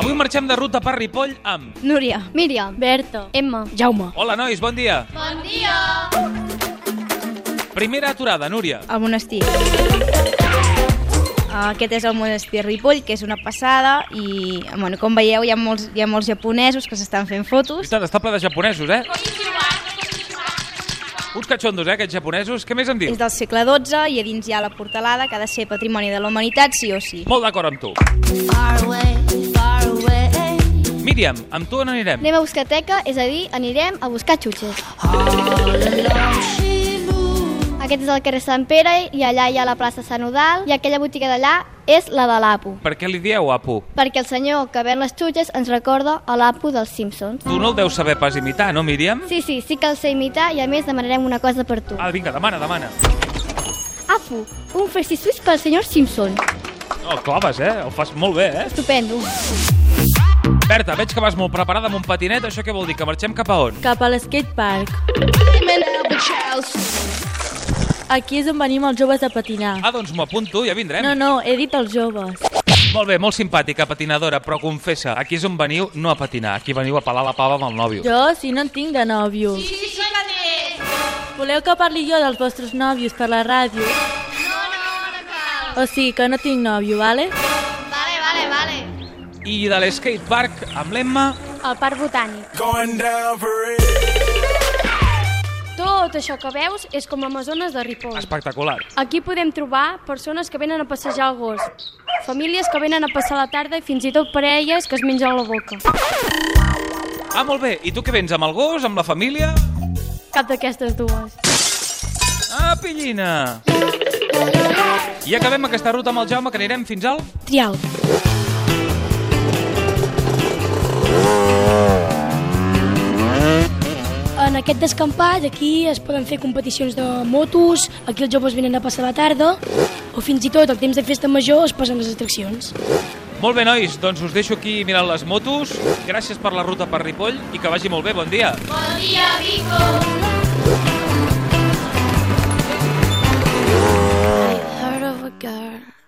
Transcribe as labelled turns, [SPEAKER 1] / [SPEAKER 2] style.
[SPEAKER 1] Avui marxem de ruta per Ripoll amb...
[SPEAKER 2] Núria,
[SPEAKER 3] Míriam,
[SPEAKER 2] Berto,
[SPEAKER 3] Emma,
[SPEAKER 2] Jaume.
[SPEAKER 1] Hola, nois, bon dia. Bon dia. Primera aturada, Núria.
[SPEAKER 2] El monestir. Aquest és el monestir Ripoll, que és una passada, i bueno, com veieu hi ha molts, hi ha molts japonesos que s'estan fent fotos.
[SPEAKER 1] Veritat, està ple de japonesos, eh? Uns catxondos, eh, aquests japonesos. Què més em
[SPEAKER 2] És
[SPEAKER 1] dius?
[SPEAKER 2] del segle XII i a dins hi ha la portalada que ha de ser Patrimoni de la Humanitat, sí o sí.
[SPEAKER 1] Molt d'acord amb tu.
[SPEAKER 4] Far away, far away.
[SPEAKER 1] Míriam, amb tu on anirem?
[SPEAKER 3] anem a buscateca, és a dir, anirem a buscar xutxes.
[SPEAKER 4] She moved.
[SPEAKER 3] Aquest és el carrer Sant Pere i allà hi ha la plaça Sant Udal i aquella botiga d'allà és la de l'Apo.
[SPEAKER 1] Per què li dieu, Apu?
[SPEAKER 3] Perquè el senyor que ven les xutxes ens recorda a l'Apo dels Simpsons.
[SPEAKER 1] Tu no el deus saber pas imitar, no, Míriam?
[SPEAKER 3] Sí, sí, sí que el sé imitar i a més demanarem una cosa per tu.
[SPEAKER 1] Ah, vinga, demana, demana.
[SPEAKER 3] Apo, un Fresh Swiss pel senyor Simpson.
[SPEAKER 1] No, el claves, eh? El fas molt bé, eh?
[SPEAKER 3] Estupendo.
[SPEAKER 1] Berta, veig que vas molt preparada amb un patinet. Això què vol dir? Que marxem cap a on?
[SPEAKER 5] cap a l'skatepark. Aquí és on venim els joves a patinar.
[SPEAKER 1] Ah, doncs m'ho apunto, ja vindrem.
[SPEAKER 5] No, no, he dit els joves.
[SPEAKER 1] Molt bé, molt simpàtica, patinadora, però confessa, aquí és on veniu no a patinar, aquí veniu a pelar la pava amb el nòvio.
[SPEAKER 5] Jo, si no en tinc de nòvio. Sí, sí, Voleu que parli jo dels vostres nòvios per la ràdio? No, no, no cal. O sigui que no tinc nòvio, vale?
[SPEAKER 1] I de l'escatepark, amb l'Emma,
[SPEAKER 6] El Parc Botànic.
[SPEAKER 7] Going down for it.
[SPEAKER 6] Tot això que veus és com Amazones de Ripoll.
[SPEAKER 1] espectacular.
[SPEAKER 6] Aquí podem trobar persones que venen a passejar el gos, famílies que venen a passar la tarda i fins i tot parelles que es mengen la boca.
[SPEAKER 1] Ah, molt bé, i tu què vens, amb el gos, amb la família?
[SPEAKER 6] Cap d'aquestes dues.
[SPEAKER 1] Ah, pillina! I acabem aquesta ruta amb el Jaume, que anirem fins al...
[SPEAKER 5] Trial.
[SPEAKER 8] En aquest descampat aquí es poden fer competicions de motos, aquí els joves venen a passar la tarda, o fins i tot al temps de festa major es posen les atraccions.
[SPEAKER 1] Molt bé, nois, doncs us deixo aquí mirant les motos. Gràcies per la ruta per Ripoll i que vagi molt bé, bon dia.
[SPEAKER 4] I heard of a girl